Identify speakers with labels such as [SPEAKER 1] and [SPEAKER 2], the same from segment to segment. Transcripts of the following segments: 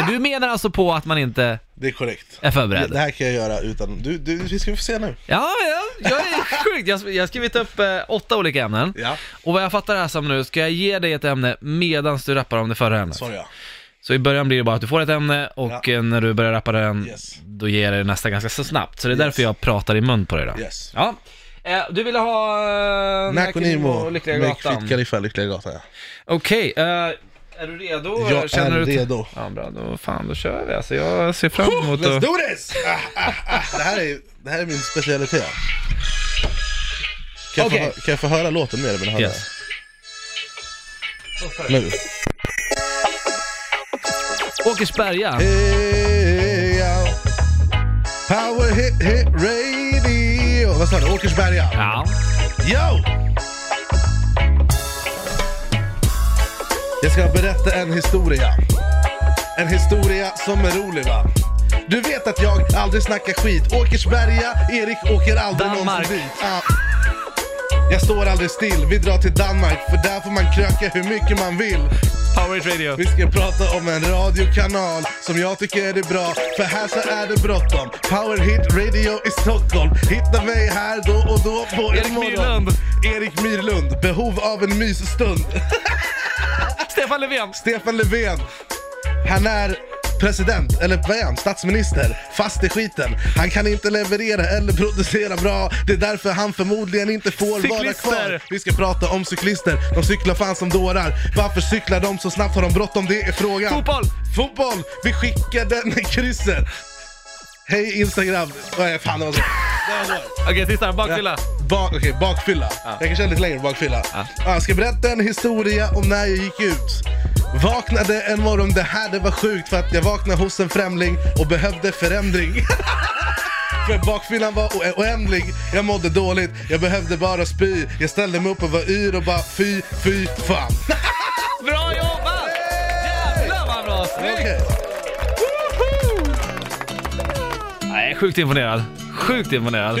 [SPEAKER 1] Men du menar alltså på att man inte
[SPEAKER 2] Det är korrekt.
[SPEAKER 1] är förberedd?
[SPEAKER 2] Det här kan jag göra utan... Du, du, vi ska få se nu.
[SPEAKER 1] Ja, ja, jag är sjukt. Jag jag har skrivit upp eh, åtta olika ämnen.
[SPEAKER 2] Ja,
[SPEAKER 1] Och vad jag fattar det här som nu, ska jag ge dig ett ämne medan du rappar om det förra ämnet?
[SPEAKER 2] svarar jag.
[SPEAKER 1] Så i början blir det bara att du får ett ämne och
[SPEAKER 2] Ja.
[SPEAKER 1] eh, när du börjar rappa den,
[SPEAKER 2] Yes.
[SPEAKER 1] då ger jag dig nästa ganska så snabbt. Så det är
[SPEAKER 2] Yes.
[SPEAKER 1] därför jag pratar i mun på dig då.
[SPEAKER 2] Yes.
[SPEAKER 1] Ja. Eh, Du ville ha... eh,
[SPEAKER 2] Nack och
[SPEAKER 1] Nemo
[SPEAKER 2] Nemo,
[SPEAKER 1] och Lyckliga
[SPEAKER 2] Make Fit
[SPEAKER 1] Gatan.
[SPEAKER 2] Kaliffa, Lyckliga Gatan ja.
[SPEAKER 1] Okej, eh, är du redo?
[SPEAKER 2] Jag
[SPEAKER 1] Känner
[SPEAKER 2] är
[SPEAKER 1] du
[SPEAKER 2] redo.
[SPEAKER 1] Ja, bra. Då, fan, då kör vi alltså. Jag ser fram emot
[SPEAKER 2] Let's
[SPEAKER 1] att...
[SPEAKER 2] do this! Ah, ah, ah. Det, här är, det här är min specialitet. Kan jag, få,
[SPEAKER 1] Okej.
[SPEAKER 2] hö- kan jag få höra låten mer? Men höra?
[SPEAKER 1] Yes.
[SPEAKER 2] Nu.
[SPEAKER 1] Åkersberga.
[SPEAKER 2] Hey, ja. Power hit hit radio. Vad sa du? Åkersberga?
[SPEAKER 1] Ja.
[SPEAKER 2] Yo! Jag ska berätta en historia. En historia som är rolig va? Du vet att jag aldrig snackar skit. Åkersberga, Erik åker aldrig
[SPEAKER 1] Danmark.
[SPEAKER 2] någonsin dit. Ah. Jag står aldrig still, vi drar till Danmark för där får man kröka hur mycket man vill.
[SPEAKER 1] Power Hit Radio.
[SPEAKER 2] Vi ska prata om en radiokanal som jag tycker är bra, för här så är det bråttom. Power Hit Radio i Stockholm. Hitta mig här då och då på
[SPEAKER 1] Erik
[SPEAKER 2] imorgon.
[SPEAKER 1] Myrlund.
[SPEAKER 2] Erik Myrlund. Behov av en mysstund.
[SPEAKER 1] Stefan Löfven.
[SPEAKER 2] Stefan Löfven. Han är president, eller vad är han? Statsminister. Fast i skiten. Han kan inte leverera eller producera bra. Det är därför han förmodligen inte får vara
[SPEAKER 1] Cyklister.
[SPEAKER 2] kvar. Vi ska prata om cyklister. De cyklar fan som dårar. Varför cyklar de så snabbt? Har de bråttom? Det är frågan.
[SPEAKER 1] Fotboll.
[SPEAKER 2] Fotboll! Vi skickar den i krysset. Hej Instagram. Nej, fan det var så. Det var så.
[SPEAKER 1] Okej, sista. Bakfylla.
[SPEAKER 2] Bak, okej, bakfylla. Jag kan köra lite längre på bakfylla.
[SPEAKER 1] Ja.
[SPEAKER 2] Ja, Jag ska berätta en historia om när jag gick ut. Vaknade en morgon, det här det var sjukt för att jag vaknade hos en främling och behövde förändring. För bakfyllan var o- oändlig, jag mådde dåligt, jag behövde bara spy. Jag ställde mig upp och var yr och bara fy, fy fan.
[SPEAKER 1] Bra jobbat! Jävlar vad bra! Snyggt!
[SPEAKER 2] Okej.
[SPEAKER 1] Nej, jag är sjukt imponerad. Sjukt imponerad.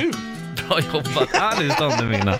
[SPEAKER 1] Bra jobbat. Alice Don Demina.